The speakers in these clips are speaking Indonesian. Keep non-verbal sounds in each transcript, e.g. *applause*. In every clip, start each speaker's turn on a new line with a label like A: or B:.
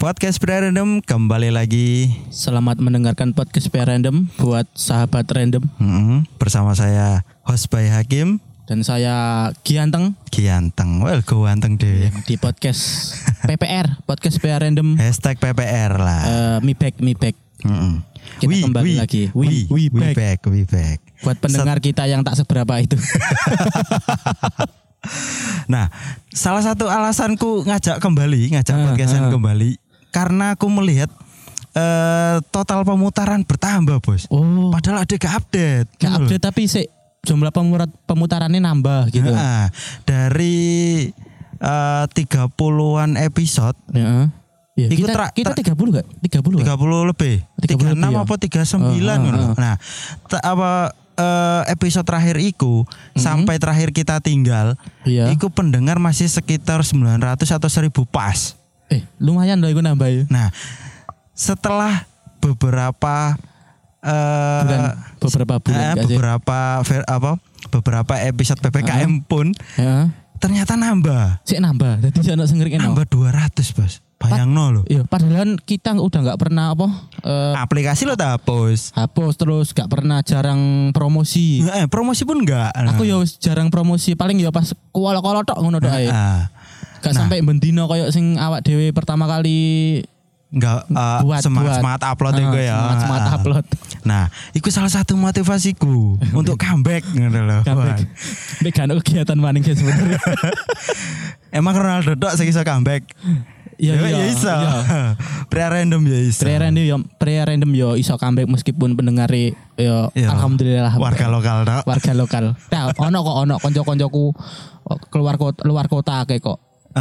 A: Podcast Pre-Random kembali lagi
B: Selamat mendengarkan podcast PR Random buat sahabat random
A: Mm-mm. mm-hmm, Bersama saya host by Hakim
B: dan saya Gianteng
A: Gianteng Well go anteng deh
B: di
A: *laughs*
B: podcast PPR podcast PR Random
A: Hashtag PPR lah Mm-hmm.
B: Eh, mi back mi back
A: Mm-mm.
B: Kita kembali lagi.
A: we,
B: We-
A: we,
B: we
A: back. we back.
B: buat pendengar kita yang tak seberapa
A: *laughs*
B: itu
A: Nah salah satu alasanku ngajak kembali Ngajak
B: Ah,
A: podcastan kembali Karena aku melihat eh, Total pemutaran bertambah bos
B: oh
A: Padahal ada gak update
B: gak
A: Gitu loh.
B: update tapi sih jumlah pemurat pemutarannya nambah gitu
A: Ah, dari eh, tiga 30-an episode
B: Heeh. Ya,
A: Iku
B: kita
A: tra-
B: kita
A: tra-
B: 30 gak? 30 gak?
A: 30 lebih 36
B: 30 lebih ya?
A: apa 39
B: Ah, ah,
A: ngono. Nah te- apa eh, episode terakhir iku
B: Mm-hmm.
A: sampai terakhir kita tinggal
B: Iya.
A: iku pendengar masih sekitar 900 atau 1000 pas
B: Eh, lumayan loh itu nambah ya.
A: nah setelah beberapa eh,
B: Bulan, beberapa
A: eh,
B: bulan gak sih?
A: beberapa ver- apa beberapa episode
B: Ah.
A: PPKM pun
B: Heeh.
A: ternyata nambah
B: Ya. Sik nambah. Dadi jane sengrik enak.
A: nambah 200 bos bayangno lo
B: Iya, padahal kita udah nggak pernah apa eh,
A: aplikasi lo tak hapus
B: hapus terus gak pernah jarang promosi.
A: Eh, promosi pun enggak
B: Aku ya wis jarang promosi, paling ya pas kuala-kuala tok ngono tok ae.
A: Ah.
B: Gak sampai mendino koyo sing awak dhewe pertama kali
A: nggak uh,
B: buat
A: semangat
B: buat.
A: semangat upload
B: Ah,
A: itu ya
B: Semangat-semangat
A: Ah.
B: upload.
A: nah itu salah satu
B: *laughs*
A: motivasiku untuk comeback gitu loh Wah.
B: Kabeh.
A: *laughs*
B: Nek gak ada kegiatan maning guys sebenarnya.
A: emang Ronaldo dok sing iso comeback
B: Iya,
A: Ya, ya iso *laughs* pre random ya iso
B: Pre random yo, pre random yo iso comeback meskipun pendengar e yo
A: Iya.
B: alhamdulillah
A: warga lokal dok
B: warga lokal. Nah, ono kok ono kanca-kancaku keluar kota luar kota kayak kok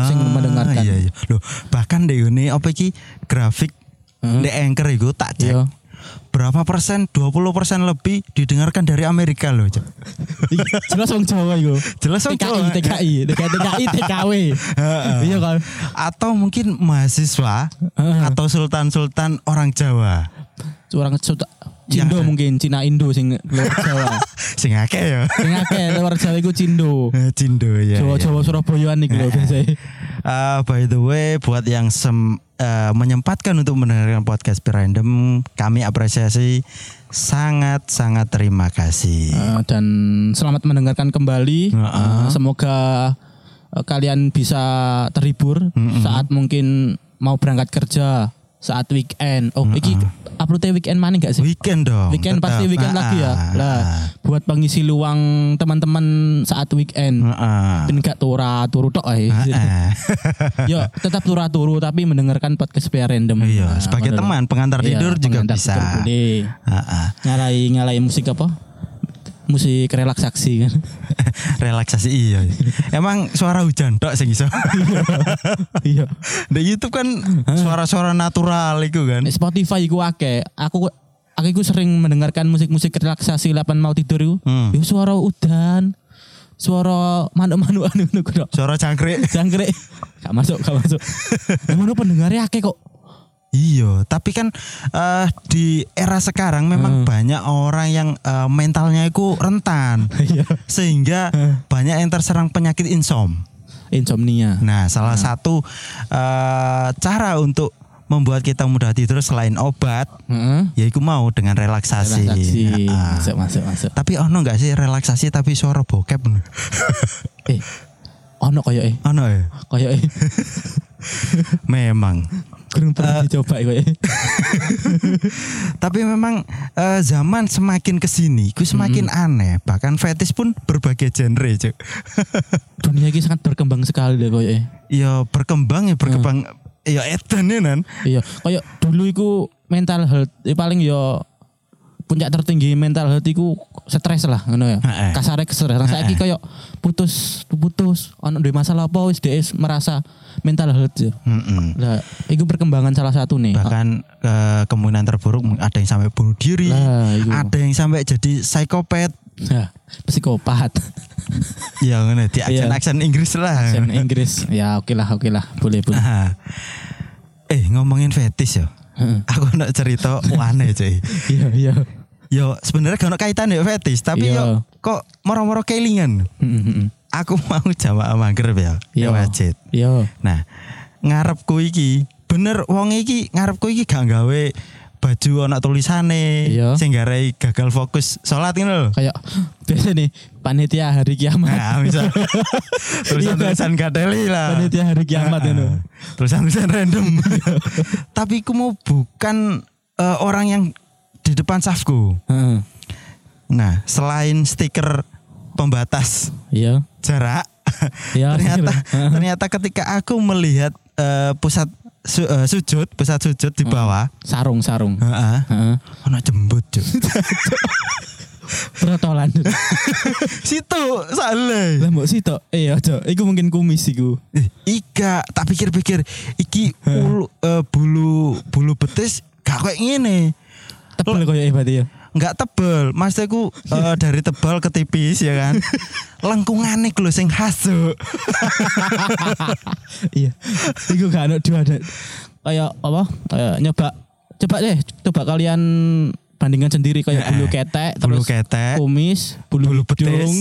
B: sing
A: Ah,
B: mendengarkan.
A: iya, iya. Loh, bahkan di ini apa iki grafik di anchor itu tak cek
B: Hmm. Iya.
A: berapa persen 20 persen lebih didengarkan dari Amerika loh Cok.
B: Jelas wong Jawa iku.
A: Jelas wong
B: TKI,
A: Jawa.
B: TKI, TKI, TKI,
A: *laughs*
B: TKW. Iya kan.
A: atau mungkin mahasiswa atau sultan-sultan orang Jawa
B: Orang Cina Cindo
A: Iya.
B: mungkin Cina Indo sing luar Jawa.
A: sing akeh ya *laughs*
B: sing akeh luar Jawa iku Cindo.
A: Eh, Cindo ya. ya.
B: Jawa-Jawa Surabayaan iku lho biasa.
A: Ah, by the way, buat yang sem- eh, menyempatkan untuk mendengarkan podcast Pirandom, kami apresiasi sangat sangat terima kasih.
B: Eh, dan selamat mendengarkan kembali.
A: Heeh.
B: Eh, semoga eh, kalian bisa terhibur saat mungkin mau berangkat kerja, saat weekend. Oh, iki uploadnya weekend mana enggak sih?
A: Weekend dong.
B: Weekend pasti
A: tetap. Ah,
B: weekend lagi ya.
A: ah,
B: Lah, buat pengisi luang teman-teman saat weekend.
A: ah, ah.
B: Ben gak tura turu tok ae.
A: Ah, ah. *laughs*
B: Yo, tetap tura turu tapi mendengarkan podcast PR random.
A: Iya,
B: Nah,
A: sebagai
B: ngono lho.
A: teman pengantar
B: Iya,
A: tidur juga
B: pengantar
A: bisa.
B: tidur boleh.
A: Ah, ah. *laughs*
B: Nyalai nyalai musik apa? Musik relaksasi
A: *laughs*
B: kan.
A: Relaksasi iya. Emang suara hujan tok sing iso.
B: Iya.
A: Di YouTube kan suara-suara natural itu kan.
B: Nek Spotify iku akeh. Aku aku iku sering mendengarkan musik-musik relaksasi lapan mau tidur iku.
A: Hmm.
B: Yo, suara udan. Suara *laughs* manuk-manukan ngono ku tok.
A: Suara cangkrik.
B: Jangkrik. Gak masuk, gak masuk. Ngono pendengarnya akeh kok.
A: Iya, tapi kan eh, di era sekarang
B: Hmm.
A: memang banyak orang yang eh, mentalnya itu rentan.
B: Iya. Hmm.
A: Sehingga banyak yang terserang penyakit insom.
B: Insomnia.
A: Nah, salah
B: Hmm.
A: satu eh, cara untuk membuat kita mudah tidur selain obat,
B: Heeh.
A: yaitu mau dengan relaksasi.
B: Relaksasi.
A: Ah.
B: Masuk, masuk, masuk.
A: Tapi ono nggak sih relaksasi tapi suara
B: *laughs*
A: bokep?
B: Eh. Ono koyo eh.
A: ono ya?
B: Koyo
A: *laughs*
B: eh.
A: Memang.
B: Kurang
A: Ah.
B: pernah dicoba koyo eh.
A: Tapi memang eh, zaman semakin kesini, itu semakin aneh. Bahkan fetis pun berbagai genre, Cuk. *laughs*
B: Dunia ini sangat berkembang sekali deh koyo eh.
A: ya berkembang ya berkembang ya edan ya nan
B: Iya, koyo dulu iku mental health ya paling yo puncak tertinggi mental health iku stres lah ngono ya.
A: Heeh.
B: Kasare stres. Nah, saiki koyo putus putus ono duwe masalah apa wis dhek is merasa mental health ya.
A: Mm-mm.
B: Lah, iku perkembangan salah satu nih.
A: bahkan eh, kemungkinan terburuk ada yang sampai bunuh diri
B: Lah, iku.
A: ada yang sampai jadi psikopat
B: Nah, psikopat.
A: ya ngono di aksen
B: Iya.
A: aksen Inggris lah
B: Bahasa Inggris. Ya, oke lah, oke lah. Boleh, boleh.
A: Ah. eh ngomongin fetis ya
B: Heeh.
A: aku nak cerita aneh cuy
B: Iya, iya.
A: yo sebenarnya gak ada kaitan ya fetis tapi
B: Iya.
A: yo kok moro-moro kelingan
B: Heeh, heeh.
A: *laughs* aku mau jamaah maghrib ya
B: Iya.
A: di masjid
B: Iya.
A: nah ngarepku iki bener wong iki ngarepku iki gak gawe baju ana tulisane
B: Iya.
A: sing garai gagal fokus salat ngono lho.
B: kayak *gasps* biasa nih panitia hari kiamat
A: Nah, *laughs*
B: *laughs*
A: misal tulisan-tulisan kateli lah.
B: panitia hari kiamat
A: Heeh.
B: itu
A: Tulisan-tulisan random. *laughs* Tapi ku mau bukan eh, orang yang di depan safku.
B: Heeh.
A: Nah, selain stiker pembatas
B: iya
A: jarak, *laughs*
B: Iya, *laughs*
A: ternyata
B: stiker.
A: ternyata ketika aku melihat eh, pusat su- eh, sujud, pusat sujud
B: Hmm.
A: di bawah,
B: sarung sarung
A: heeh,
B: Heeh.
A: ono jembut, Cuk. *laughs*
B: protolan
A: Situ salah.
B: lah mbok sitok eh ojo iku mungkin kumis iku
A: Eh, Ika, tak pikir-pikir, iki
B: Hmm.
A: ulu, eh, bulu bulu betis gak kayak ngene.
B: tebel koyo hebat ya
A: nggak tebel maksudku
B: *laughs*
A: eh, dari tebal ke tipis ya kan lengkungan lho sing khas Cuk.
B: *laughs* iya iku gak ono dua ada kayak apa kayak nyoba coba deh coba kalian bandingkan sendiri kayak
A: Eh,
B: bulu ketek
A: bulu
B: terus Oh.
A: ketek.
B: kumis bulu,
A: Bulu betis.
B: hidung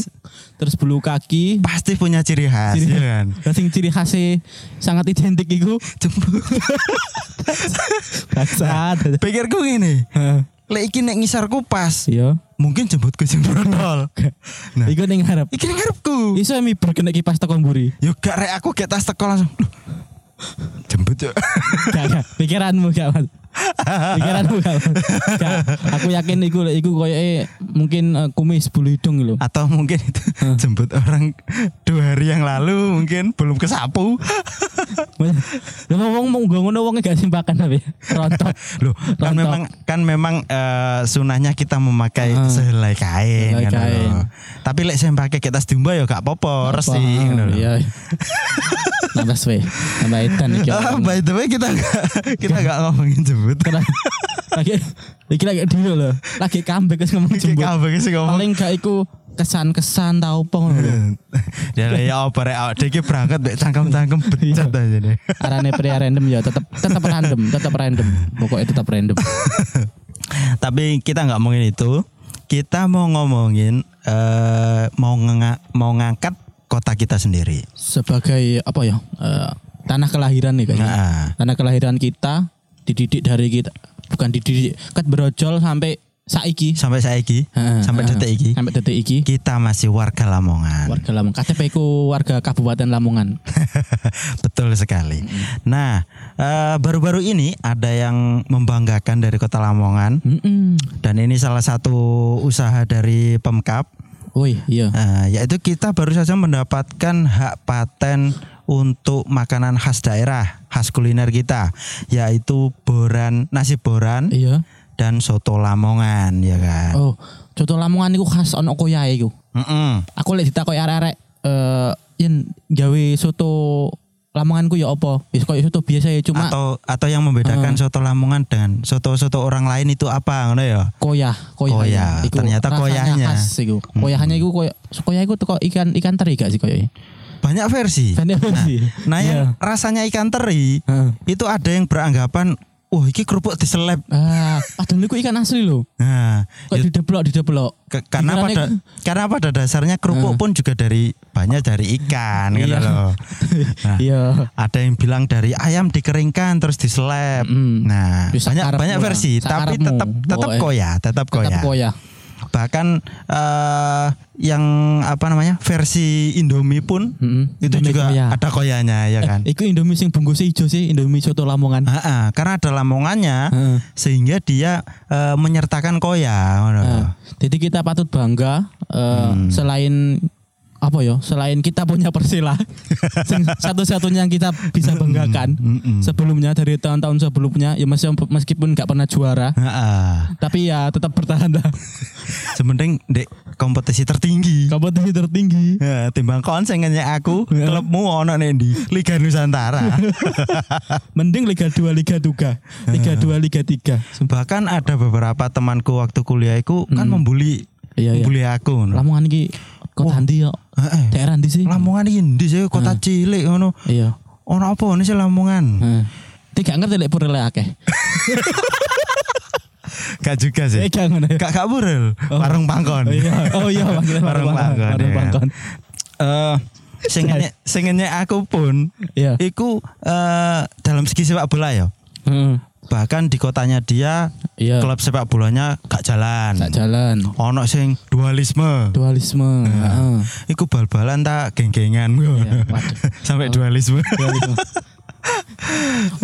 B: terus bulu kaki
A: pasti punya ciri khas
B: Ciri-
A: ya kan
B: Lah *laughs* sing ciri khasnya sangat identik iku
A: jembut
B: bangsat
A: pikirku gini lek iki nek ngisarku pas
B: iya
A: mungkin jembutku sing brotol *laughs* nah
B: iku ning ngarep
A: iki ngarepku
B: iso mi berkena kipas tekan mburi
A: yo gak rek aku gak tas teko langsung Duh, jembut Cuk.
B: gak gak pikiranmu gak mas pikiranmu gak mas gak aku yakin iku iku koyoke mungkin eh, kumis bulu hidung lho
A: *laughs* atau mungkin itu jembut orang dua hari yang lalu mungkin belum
B: *laughs*
A: kesapu
B: Lah wong mau nggo ngono wong e gak simpakan tapi rontok.
A: Loh, kan
B: Rontok.
A: memang kan memang eh, sunahnya kita memakai sehelai kain,
B: Sehelai
A: ngono lho.
B: kain.
A: Tapi lek saya pakai kertas domba ya gak apa-apa, resi
B: Wah,
A: ngono lho.
B: Iya. Nambah suwe. Nambah edan
A: *laughs*
B: iki.
A: Ah, by the way kita gak, *laughs* kita gak ngomongin jembut.
B: Kena- Lagi iki lagi dulu lho. Lagi comeback wis ngomong
A: Iki
B: jembut.
A: kabeh sih ngomong.
B: Paling gak iku kesan-kesan tau apa ngono lho.
A: Ya lah, ya apa rek awak dhewe iki berangkat mek cangkem-cangkem becat aja deh. *laughs*
B: Arane pria random ya tetep tetep random, tetep random. Pokoknya tetep random.
A: Tapi kita nggak ngomongin itu. Kita mau ngomongin eh, mau ngenga- mau ngangkat kota kita sendiri.
B: Sebagai apa ya? eh, tanah kelahiran nih kayaknya.
A: Nah,
B: Karena kelahiran kita dididik dari kita bukan dididik ket brojol sampai saiki
A: sampai saiki,
B: Heeh,
A: sampai
B: heeh.
A: detik iki
B: sampai detik iki
A: kita masih warga Lamongan.
B: warga Lamongan KTP ku warga Kabupaten Lamongan
A: *laughs* Betul sekali. Nah, eh, baru-baru ini ada yang membanggakan dari Kota Lamongan
B: Mm-mm.
A: dan ini salah satu usaha dari Pemkap
B: woi iya
A: eh, yaitu kita baru saja mendapatkan hak paten untuk makanan khas daerah, khas kuliner kita, yaitu boran, nasi boran
B: iya
A: dan soto Lamongan, ya kan.
B: oh contoh Lamongan iku khas ono koyae iku
A: Mm-mm.
B: aku lek ditakoki arek-arek eh yen gawe soto Lamongan ku ya apa wis koyo soto biasa ya cuma
A: atau atau yang membedakan soto Lamongan dengan soto-soto orang lain itu apa, ngono ya?
B: koyah koyah
A: Koyah.
B: iku
A: Ternyata
B: rasanya
A: koyahnya. Hmm.
B: khas iku koyahnya iku koyo koyah iku teko ikan ikan teri gak sih koyo
A: Banyak versi.
B: Banyak versi.
A: Nah, yang
B: Iya.
A: rasanya ikan teri
B: Heeh.
A: itu ada yang beranggapan, wah ini kerupuk diselep.
B: Ah, padahal niku ikan asli loh.
A: Nah,
B: Kok dideblok dideblok.
A: ke- karena
B: Pikirannya-
A: pada karena pada dasarnya kerupuk pun juga dari banyak dari ikan gitu
B: Hmm. Iya.
A: loh. Nah,
B: Iya.
A: Ada yang bilang dari ayam dikeringkan terus diselep.
B: Mm.
A: Nah,
B: Bisa
A: banyak
B: karepmu
A: banyak
B: lah,
A: versi, tapi
B: sakarepmu.
A: tetap tetap
B: Pokoknya.
A: koya, tetap koya.
B: Tetap koya.
A: Bahkan eh, yang apa namanya? versi Indomie pun
B: Mm-mm.
A: itu
B: Indomie Iya.
A: juga
B: koya.
A: ada koyanya ya
B: *laughs*
A: kan. Ah.
B: Eh, Iku Indomie sing bungkusnya ijo sih, Indomie soto Lamongan.
A: Ha-ha, karena ada lamongannya
B: Heeh.
A: sehingga dia eh, menyertakan koya ngono.
B: Nah, jadi kita patut bangga eh,
A: Hmm.
B: selain apa ya? Selain kita punya Persila.
A: *laughs*
B: sing satu-satunya yang kita bisa banggakan.
A: Hmm.
B: Sebelumnya dari tahun-tahun sebelumnya ya masih meskipun nggak pernah juara,
A: Ha-ha.
B: tapi ya tetap bertahan lah.
A: Sementing dek kompetisi tertinggi.
B: Kompetisi tertinggi.
A: Ya, timbang konsen kayaknya aku klubmu ono nih di Liga Nusantara.
B: Mending Liga 2, Liga 3. Liga 2, Liga 3.
A: Bahkan ada beberapa temanku waktu kuliahku kan membuli
B: Iya, iya.
A: membuli aku. ngono.
B: Lamongan iki kota ndi ya?
A: Heeh.
B: Daerah ndi sih?
A: Lamongan iki ndi sih kota cilik ngono.
B: Iya.
A: Ono apa ini sih Lamongan?
B: Heeh. Tiga ngerti lek purele akeh.
A: Gak juga sih.
B: Tiga ngono. ya.
A: Gak gak burel. Warung pangkon.
B: Oh iya, oh iya, panggilan
A: Warung pangkon. ya
B: Warung
A: kan.
B: pangkon.
A: Eh, Sengennya, sengennya aku pun,
B: Iya.
A: iku eh, dalam segi sepak bola ya.
B: Heeh.
A: Bahkan di kotanya dia,
B: Hmm. Iya.
A: klub sepak bolanya gak jalan.
B: Tak jalan.
A: Ono sing dualisme.
B: Dualisme. Heeh.
A: Iku bal-balan tak geng-gengan.
B: Iya,
A: *laughs*
B: waduh. Oh.
A: Sampai
B: *laughs*
A: dualisme.
B: Dualisme.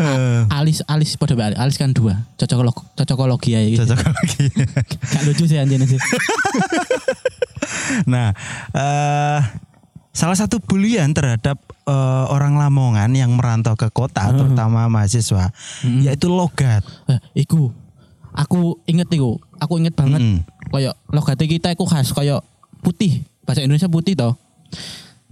A: Eh,
B: alis alis pada balik alis kan dua cocok cocokologi ya gitu.
A: Cocok lagi. *laughs*
B: Gak lucu sih anjir sih
A: Nah, eh salah satu bulian terhadap eh, orang Lamongan yang merantau ke kota,
B: Hmm.
A: terutama mahasiswa, yaitu logat.
B: Eh, iku aku inget iku aku inget banget
A: Mm.
B: koyo logate kita iku khas koyo putih bahasa Indonesia putih toh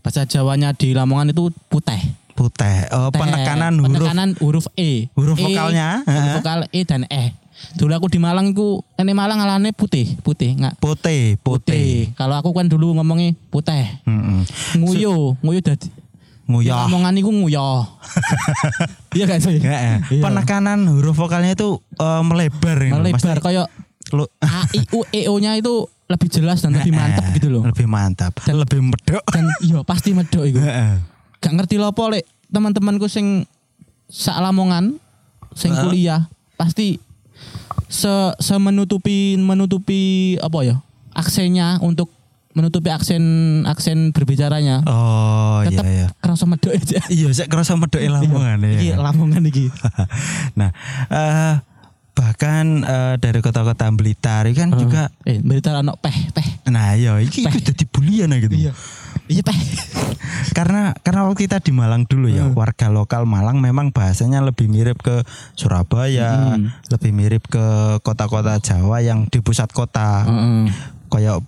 B: bahasa Jawanya di Lamongan itu putih
A: Putih, Eh,
B: Teh.
A: penekanan huruf.
B: penekanan huruf e
A: Huruf
B: E,
A: vokalnya,
B: huruf
A: heeh.
B: vokal e dan e dulu aku di Malang iku ini Malang alane putih putih nggak
A: Putih, putih.
B: putih kalau aku kan dulu ngomongnya putih
A: Mm-mm.
B: nguyo nguyo dadi
A: Nguyah.
B: Lamongan iku nguyo iya gak
A: *laughs*
B: sih
A: Heeh.
B: Iya.
A: Penekanan huruf vokalnya itu eh, melebar. gitu.
B: melebar
A: Maksudnya,
B: koyo
A: lu-
B: A I
A: *laughs*
B: U E O nya itu lebih jelas dan lebih mantap
A: Heeh,
B: gitu loh.
A: Lebih mantap. lebih medok.
B: Dan iya pasti medok iku.
A: *laughs* Heeh.
B: Gak ngerti lho apa lek teman-temanku sing sak Lamongan sing kuliah pasti se semenutupi menutupi apa ya? aksennya untuk menutupi aksen aksen berbicaranya.
A: Oh,
B: tetep
A: iya iya.
B: kerasa medok aja.
A: Iya, saya kerasa medok Lamongan ya.
B: Iki Lamongan iki.
A: *laughs* nah, eh bahkan eh, dari kota-kota Blitar itu kan juga
B: eh berita anak peh peh.
A: nah yo iki
B: Peh.
A: udah dibulian ya gitu.
B: Iya peh.
A: Karena karena waktu kita di Malang dulu ya, warga lokal Malang memang bahasanya lebih mirip ke Surabaya, lebih mirip ke kota-kota Jawa yang di pusat kota.
B: Heeh.
A: Kayak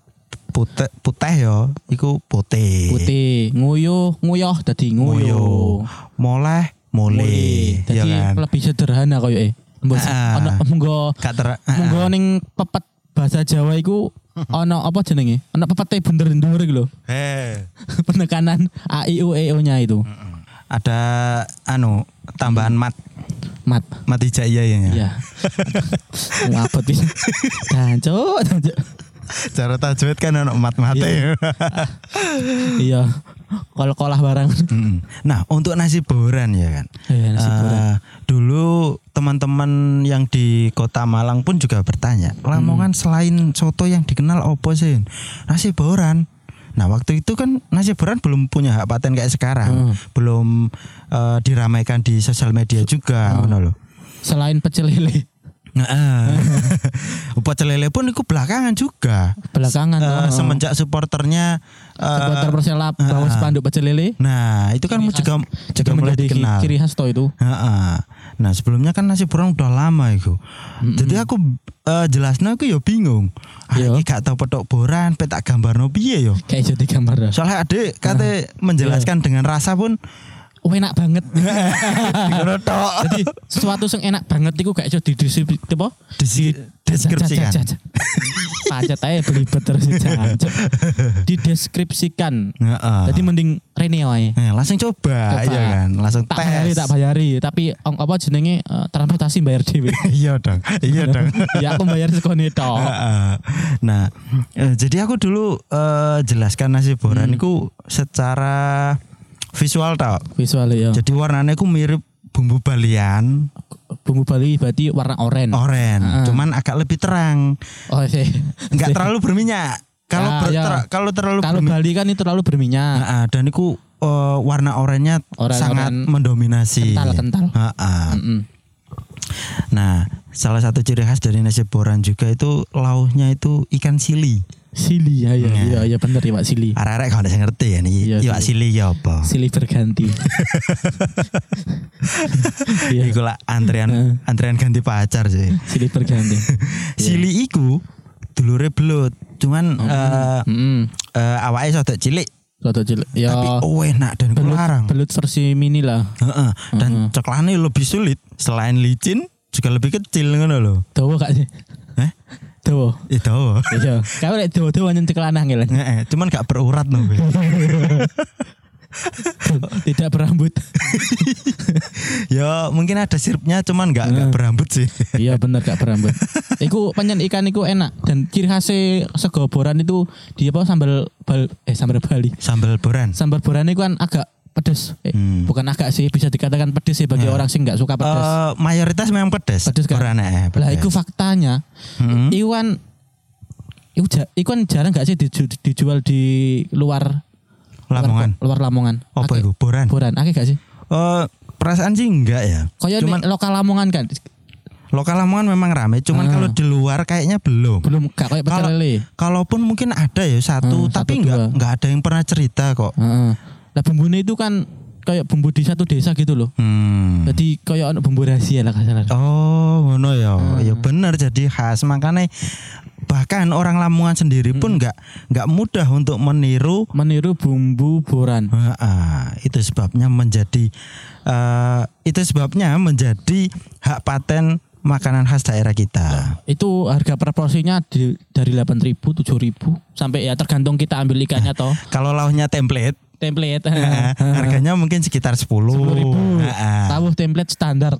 A: putih putih yo, iku putih.
B: *laughs* Putih, nguyo, nguyoh dadi nguyo.
A: Moyo. Moleh,
B: Boleh.
A: mole. Ya
B: Jadi
A: kan.
B: lebih sederhana koyo e. Mbok
A: Ah.
B: ono monggo
A: Gak ter-
B: *laughs* monggo ning pepet bahasa Jawa iku ono apa jenenge? Ono pepete bener dhuwur iku lho. *laughs*
A: Eh.
B: Penekanan a i u e o nya itu.
A: ada anu tambahan mat
B: Mat.
A: mat iya, hijaiyahnya.
B: Ya. Ngabot pisan. Dancuk, dancuk.
A: Cara tajwid kan ono mat mate.
B: Iya. Kol-kolah barang.
A: nah, untuk nasi boran ya kan.
B: Iya, nasi
A: Eh,
B: boran.
A: dulu teman-teman yang di Kota Malang pun juga bertanya,
B: Mm.
A: Lamongan selain soto yang dikenal opo sih? Nasi boran. Nah, waktu itu kan nasi boran belum punya hak paten kayak sekarang.
B: Mm.
A: Belum eh, diramaikan di sosial media
B: Mm.
A: juga, ngono lho.
B: Selain pecel lele
A: Heeh. *laughs* Pecel lele pun itu belakangan juga.
B: belakangan.
A: Eh,
B: oh.
A: semenjak supporternya eh,
B: Supporter Persela bawa spanduk pecel lele
A: nah itu kan juga juga
B: itu
A: mulai
B: menjadi ki-
A: dikenal
B: ciri khas toh itu.
A: Heeh. nah sebelumnya kan nasi borong udah lama itu jadi aku eh, jelasnya aku ya bingung ah,
B: Iya.
A: ini gak tau petok boran petak gambar no piye yo
B: Kayak jadi gambar. dah.
A: soalnya adik kata menjelaskan
B: Iya.
A: dengan rasa
B: *laughs*
A: pun
B: Oh,
A: *laughs*
B: enak banget.
A: dikira tok.
B: Jadi sesuatu yang enak banget iku gak iso dideskripsi apa?
A: Desi- deskripsikan
B: Pajat aja belibet terus jajan. Dideskripsikan.
A: Heeh.
B: Jadi mending Rene wae.
A: Nah, langsung coba,
B: Coba.
A: iya kan langsung
B: Tak bayari,
A: tes
B: tak bayari, tapi ong, apa jenenge eh, transportasi bayar dhewe.
A: *laughs* iya dong iya dong
B: *laughs* ya aku bayar sekone tok.
A: Heeh. Nah, eh, jadi aku dulu eh, jelaskan nasi boran
B: Hmm.
A: iku secara visual tau.
B: Visual ya.
A: Jadi warnanya iku mirip bumbu balian
B: Bumbu Bali berarti warna oranye.
A: oren, cuman agak lebih terang,
B: Oh, sih.
A: nggak terlalu berminyak. Kalau
B: Ya,
A: ber-
B: ya.
A: ter- kalau terlalu
B: Kalau
A: berminyak,
B: Bali kan itu terlalu berminyak.
A: Heeh, dan iku eh, warna oranye
B: Oranye-
A: sangat
B: oranye.
A: mendominasi.
B: Kental-kental.
A: Heeh.
B: Mm-mm.
A: Nah, salah satu ciri khas dari nasi boran juga itu lauknya itu ikan sili.
B: Sili ya, ya, iya, iya bener ya Pak Sili.
A: Arek-arek kalau nggak ngerti ya nih,
B: Iya,
A: iwak sili ya apa?
B: Silih berganti. Iya,
A: Iku lah antrian antrian ganti pacar sih.
B: silih berganti.
A: *laughs* Sili iku dulure belut, cuman
B: Oh,
A: eh
B: Heeh.
A: eh, awake sodok cilik
B: Soto cilik. Ya
A: tapi oh enak dan iku larang.
B: belut versi mini lah.
A: Heeh. Dan coklatnya lebih sulit selain licin juga lebih kecil ngono lho.
B: Dawa gak sih?
A: Eh? iya
B: Dawa. *laughs*
A: Itu.
B: ya,
A: *laughs*
B: Iya. Kamu lek dawa-dawa nyentik lanang ngelen. *laughs*
A: Heeh, cuman gak berurat no.
B: tidak berambut.
A: ya mungkin ada sirupnya cuman nggak nggak berambut sih. *laughs*
B: iya bener gak berambut. Iku penyen ikan iku enak dan ciri khasnya sego boran itu dia apa sambal bal, eh sambal Bali.
A: Sambal boran.
B: Sambal boran itu kan agak pedes. Eh,
A: Hmm.
B: Bukan agak sih bisa dikatakan pedes sih
A: Nah.
B: bagi orang sih nggak suka pedes.
A: Eh, mayoritas memang pedas.
B: Pedes kan?
A: Boran eh,
B: lah
A: pedes. Hmm.
B: iku faktanya. Iwan Iku, ja- iku kan jarang gak sih diju- dijual di luar
A: Lamongan.
B: luar, luar Lamongan.
A: Apa
B: Akeh-
A: iku boran?
B: Boran, akeh gak sih?
A: Eh, perasaan sih enggak ya.
B: Kaya
A: cuman
B: nek lokal Lamongan kan
A: lokal Lamongan memang rame,
B: Ah.
A: cuman kalau di luar kayaknya belum.
B: belum gak kayak pecel
A: Kalau-
B: lele.
A: Kalaupun mungkin ada ya satu,
B: Hmm,
A: tapi
B: satu, dua.
A: enggak enggak ada yang pernah cerita kok.
B: Heeh. Lah bumbune itu kan kayak bumbu di satu desa gitu loh.
A: Hmm.
B: Jadi kayak ono bumbu rahasia lah kasar.
A: Oh, ngono ya.
B: Hmm.
A: Ya bener jadi khas. Makanya bahkan orang Lamongan sendiri
B: Hmm.
A: pun nggak nggak mudah untuk meniru.
B: Meniru bumbu boran.
A: Ah, ah, itu sebabnya menjadi eh, itu sebabnya menjadi hak paten makanan khas daerah kita.
B: Itu harga per porsinya di, dari 8.000, 7.000 sampai ya tergantung kita ambil
A: *laughs*
B: ikannya toh.
A: Kalau lauhnya template,
B: Template.
A: eh, harganya mungkin sekitar 10.
B: 10.000.
A: Ah, ah.
B: Tahu ya? template standar.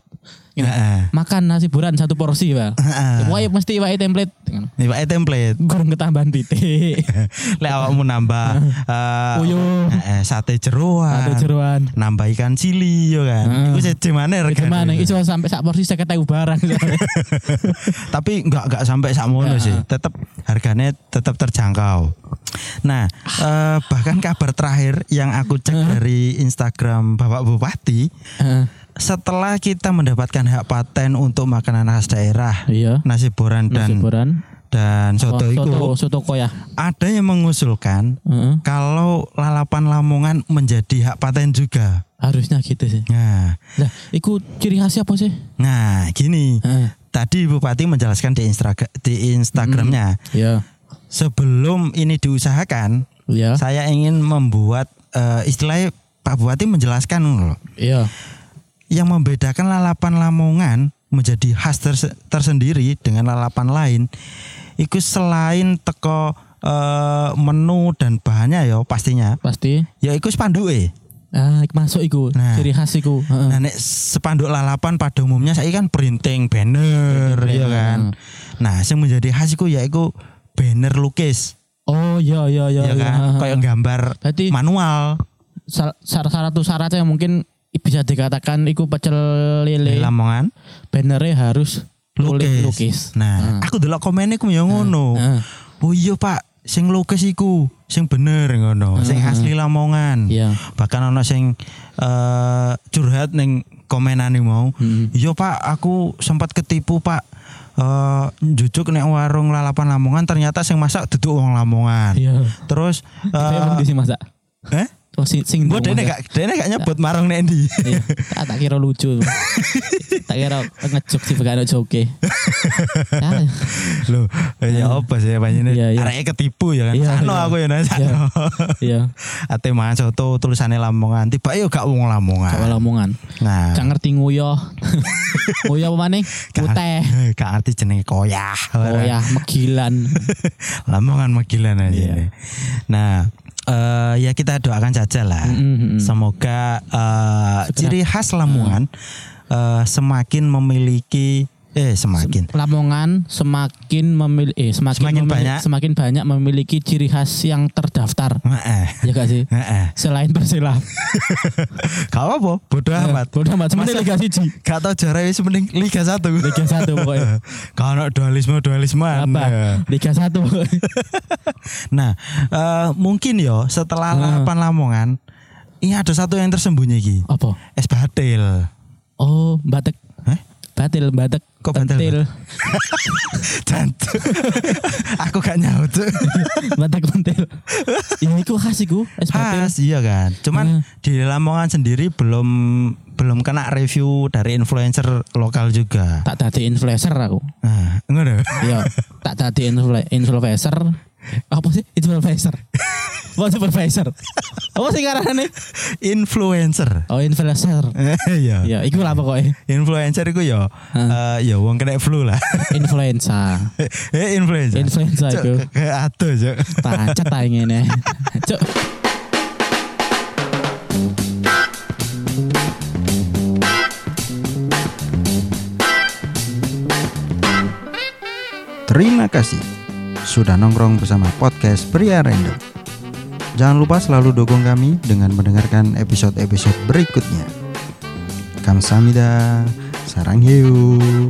A: Ah, ah.
B: Makan nasi boran satu porsi, Pak.
A: Ah, ah.
B: Wah, mesti wae template.
A: Iwake eh,
B: *laughs*
A: template.
B: Kurang ketambahan titik.
A: *laughs* Lek awakmu nambah eh,
B: Uyuh.
A: eh, sate jeroan.
B: Ada Oh, iya. jeruan.
A: nambah ikan cili yo kan.
B: Heeh.
A: Iku siji maneh regane.
B: Gimana? Iso sampai sak porsi 50.000 barang.
A: *laughs* Tapi nggak nggak sampai sakmono sih. Tetap harganya tetap terjangkau. Nah, eh, bahkan kabar terakhir yang aku cek dari Instagram Bapak Bupati,
B: Heeh.
A: setelah kita mendapatkan hak paten untuk makanan khas daerah,
B: Iya.
A: nasi boran dan
B: Nasi boran.
A: dan
B: Oh,
A: soto iku,
B: soto, soto koya.
A: ada yang mengusulkan
B: Heeh.
A: kalau lalapan Lamongan menjadi hak paten juga.
B: Harusnya gitu sih.
A: Nah,
B: Lah, iku ciri khasnya apa sih?
A: nah gini.
B: Heeh.
A: Tadi Bupati menjelaskan di, Instra- di Instagramnya
B: Iya.
A: sebelum ini diusahakan,
B: Iya.
A: saya ingin membuat eh, istilahnya Pak Bupati menjelaskan loh,
B: Iya.
A: yang membedakan lalapan Lamongan menjadi khas terse- tersendiri dengan lalapan lain, itu selain teko eh, menu dan bahannya ya pastinya,
B: Pasti.
A: ya itu spanduke.
B: Ah, masuk iku
A: Nah.
B: ciri khas iku. Heeh.
A: Nah, nek sepanduk lalapan pada umumnya saya kan printing banner, ya kan. Nah, yang menjadi khas iku yaiku banner lukis,
B: Oh, iya iya iya.
A: ya
B: iya.
A: kan.
B: Heeh.
A: Kayak gambar
B: Berarti
A: manual
B: sar- sar- syarat syaratnya yang mungkin bisa dikatakan iku pecel
A: di
B: lele.
A: Lamongan.
B: Bannernya harus
A: Lukis.
B: tulis lukis.
A: Nah, aku delok komennya ku ya ngono.
B: Heeh.
A: Oh iya, Pak, sing lukis iku sing bener ngono, sing asli Lamongan.
B: Iya.
A: Bahkan ono sing eh, curhat ning komenane mau.
B: Hmm.
A: Iya, Pak, aku sempat ketipu, Pak. Eh jujuk nek warung lalapan Lamongan ternyata sing masak duduk wong Lamongan.
B: Iya.
A: Terus
B: *laughs* Tapi
A: eh
B: emang di sini masak.
A: eh
B: Oh, sing sing
A: Mbok dene gak dene gak nyebut marung nek ndi.
B: Iya. tak, tak kira lucu. tak kira ngejok sih bukan
A: *laughs*
B: joke. Ah,
A: *laughs* Loh, ya apa sih panjene
B: Iya, iya.
A: areke ketipu ya kan.
B: Iya,
A: Sano
B: iya.
A: aku ya nang
B: Iya.
A: sano.
B: Iya.
A: *laughs* Ate mangan soto tulisane Lamongan, tiba yo gak wong Lamongan.
B: Kalau omongan.
A: Nah,
B: Gak ngerti nguyoh. *laughs* nguyoh apa nih? Putih.
A: *laughs* gak ngerti jenenge koyah.
B: Oh ya, megilan.
A: *laughs* Lamongan Magelan aja.
B: Iya.
A: ini. Nah, eh, ya kita doakan saja lah.
B: Mm, mm, mm.
A: Semoga eh, ciri khas Lamongan eh, semakin memiliki eh semakin
B: Lamongan semakin memiliki eh, semakin,
A: Semakin
B: memili-
A: banyak.
B: semakin banyak memiliki ciri khas yang terdaftar.
A: Heeh.
B: ya gak sih? *laughs*
A: Heeh.
B: Selain Persela.
A: Gak apa-apa, bodoh amat.
B: Iya, *laughs* Bodoh amat. Sebenarnya Liga 1.
A: Gak tau juara wis mending Liga 1.
B: Liga 1 pokoknya.
A: *laughs* Kalau ada dualisme-dualisme.
B: Apa?
A: nah.
B: Liga 1 pokoknya.
A: Nah, eh, mungkin yo setelah lalapan Lamongan ini ada satu yang tersembunyi iki.
B: *laughs* Apa?
A: Es batil.
B: Oh, Batek.
A: Heh?
B: Batil, Batek.
A: Kok batil, *laughs*
B: Pentil.
A: Jantung. *laughs* Aku gak nyaut.
B: batek pentil. ya iku khas iku, es batil.
A: Khas iya kan. Cuman di Lamongan sendiri belum belum kena review dari influencer lokal juga.
B: Tak dadi influencer aku.
A: Nah, ngono.
B: Iya, tak dadi influ- influencer. Apa sih
A: *laughs*
B: influencer? Apa supervisor? Apa sih ngaranane?
A: *laughs* influencer. *laughs*
B: Oh, influencer.
A: Iya.
B: Ya, iku lah pokoknya
A: Influencer iku yo eh yo wong kena flu lah. *laughs*
B: influenza.
A: eh influencer. ya.
B: Influenza
A: Cuk,
B: iku.
A: ke- Ke aduh, Cuk.
B: Pancet ta ngene. Cuk.
A: Terima kasih sudah nongkrong bersama podcast Pria Random. Jangan lupa selalu dukung kami dengan mendengarkan episode-episode berikutnya. Kamsahamnida, sarang hiu.